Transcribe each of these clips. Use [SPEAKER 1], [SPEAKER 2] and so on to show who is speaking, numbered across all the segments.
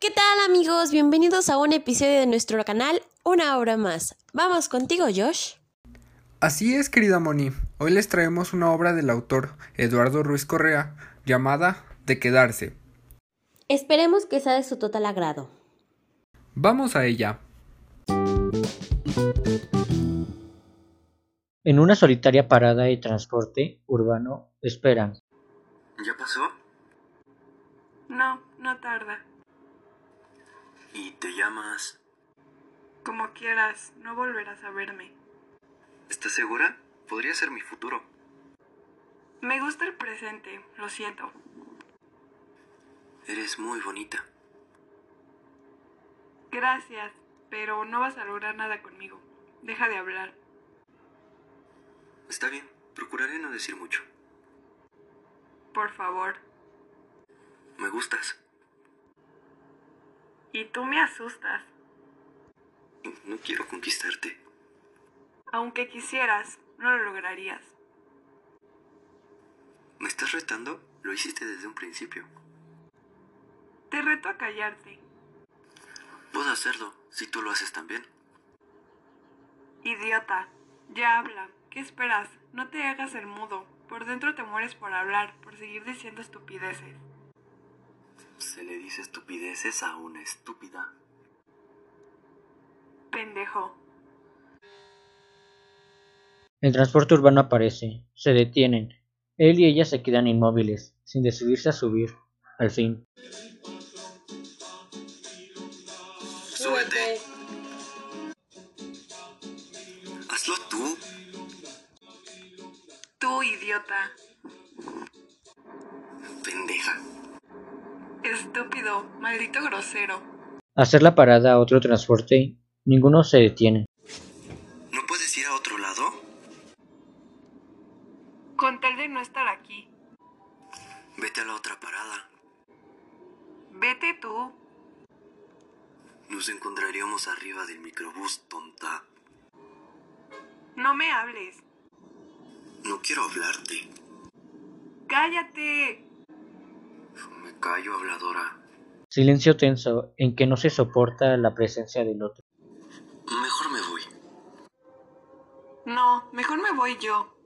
[SPEAKER 1] ¿Qué tal amigos? Bienvenidos a un episodio de nuestro canal Una obra más. Vamos contigo, Josh.
[SPEAKER 2] Así es, querida Moni. Hoy les traemos una obra del autor Eduardo Ruiz Correa llamada De quedarse.
[SPEAKER 1] Esperemos que sea de su total agrado.
[SPEAKER 2] Vamos a ella.
[SPEAKER 3] En una solitaria parada de transporte urbano esperan.
[SPEAKER 4] ¿Ya pasó?
[SPEAKER 5] No, no tarda.
[SPEAKER 4] ¿Y te llamas?
[SPEAKER 5] Como quieras, no volverás a verme.
[SPEAKER 4] ¿Estás segura? Podría ser mi futuro.
[SPEAKER 5] Me gusta el presente, lo siento.
[SPEAKER 4] Eres muy bonita.
[SPEAKER 5] Gracias, pero no vas a lograr nada conmigo. Deja de hablar.
[SPEAKER 4] Está bien, procuraré no decir mucho.
[SPEAKER 5] Por favor.
[SPEAKER 4] Me gustas.
[SPEAKER 5] Y tú me asustas.
[SPEAKER 4] No quiero conquistarte.
[SPEAKER 5] Aunque quisieras, no lo lograrías.
[SPEAKER 4] ¿Me estás retando? Lo hiciste desde un principio.
[SPEAKER 5] Te reto a callarte.
[SPEAKER 4] Puedo hacerlo si tú lo haces también.
[SPEAKER 5] Idiota, ya habla. ¿Qué esperas? No te hagas el mudo. Por dentro te mueres por hablar, por seguir diciendo estupideces.
[SPEAKER 4] Se le dice estupideces a una estúpida.
[SPEAKER 5] Pendejo.
[SPEAKER 3] El transporte urbano aparece. Se detienen. Él y ella se quedan inmóviles, sin decidirse a subir. Al fin.
[SPEAKER 4] Súbete. Hazlo tú.
[SPEAKER 5] Tú, idiota.
[SPEAKER 4] Pendeja.
[SPEAKER 5] Estúpido, maldito grosero.
[SPEAKER 3] Hacer la parada a otro transporte, ninguno se detiene.
[SPEAKER 4] ¿No puedes ir a otro lado?
[SPEAKER 5] Con tal de no estar aquí.
[SPEAKER 4] Vete a la otra parada.
[SPEAKER 5] Vete tú.
[SPEAKER 4] Nos encontraríamos arriba del microbús, tonta.
[SPEAKER 5] No me hables.
[SPEAKER 4] No quiero hablarte.
[SPEAKER 5] Cállate.
[SPEAKER 4] Me callo, habladora.
[SPEAKER 3] Silencio tenso en que no se soporta la presencia del otro.
[SPEAKER 4] Mejor me voy.
[SPEAKER 5] No, mejor me voy yo.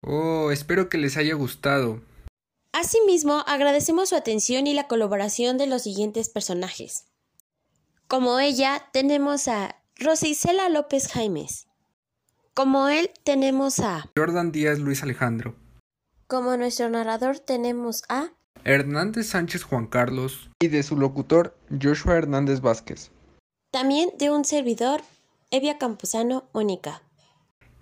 [SPEAKER 2] Oh, espero que les haya gustado.
[SPEAKER 1] Asimismo, agradecemos su atención y la colaboración de los siguientes personajes. Como ella, tenemos a Rosa Isela López Jaimes. Como él, tenemos a.
[SPEAKER 2] Jordan Díaz Luis Alejandro.
[SPEAKER 1] Como nuestro narrador, tenemos a.
[SPEAKER 2] Hernández Sánchez Juan Carlos. Y de su locutor, Joshua Hernández Vázquez.
[SPEAKER 1] También de un servidor, Evia Campuzano Mónica.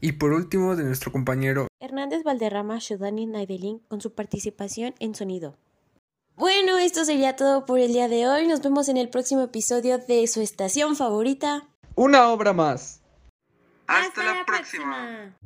[SPEAKER 2] Y por último, de nuestro compañero
[SPEAKER 1] Hernández Valderrama Shudani Naidelin con su participación en sonido. Bueno, esto sería todo por el día de hoy. Nos vemos en el próximo episodio de su estación favorita.
[SPEAKER 2] Una obra más.
[SPEAKER 1] Hasta, la, próxima.